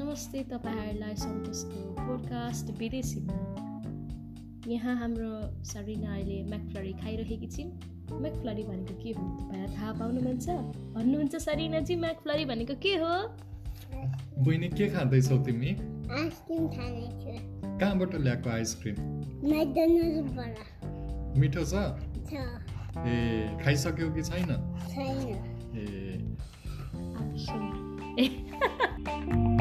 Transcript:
नमस्ते तपाईँहरूलाई सन्तोषको पोडकास्ट विदेशीमा यहाँ हाम्रो सरिना अहिले म्याकफ्लरी खाइरहेकी छिन् म्याकफ्लरी भनेको के हो तपाईँलाई थाहा पाउनु मन छ भन्नुहुन्छ सरिनाजी म्याकफ्लरी भनेको के हो बहिनी के खाँदैछौ तिमी आइसक्रिम खानेछु कहाँबाट ल्याएको आइसक्रिम म्याकडोनल्डबाट मिठो छ छ ए खाइसक्यौ कि छैन Eh, छैन ए आफू सुन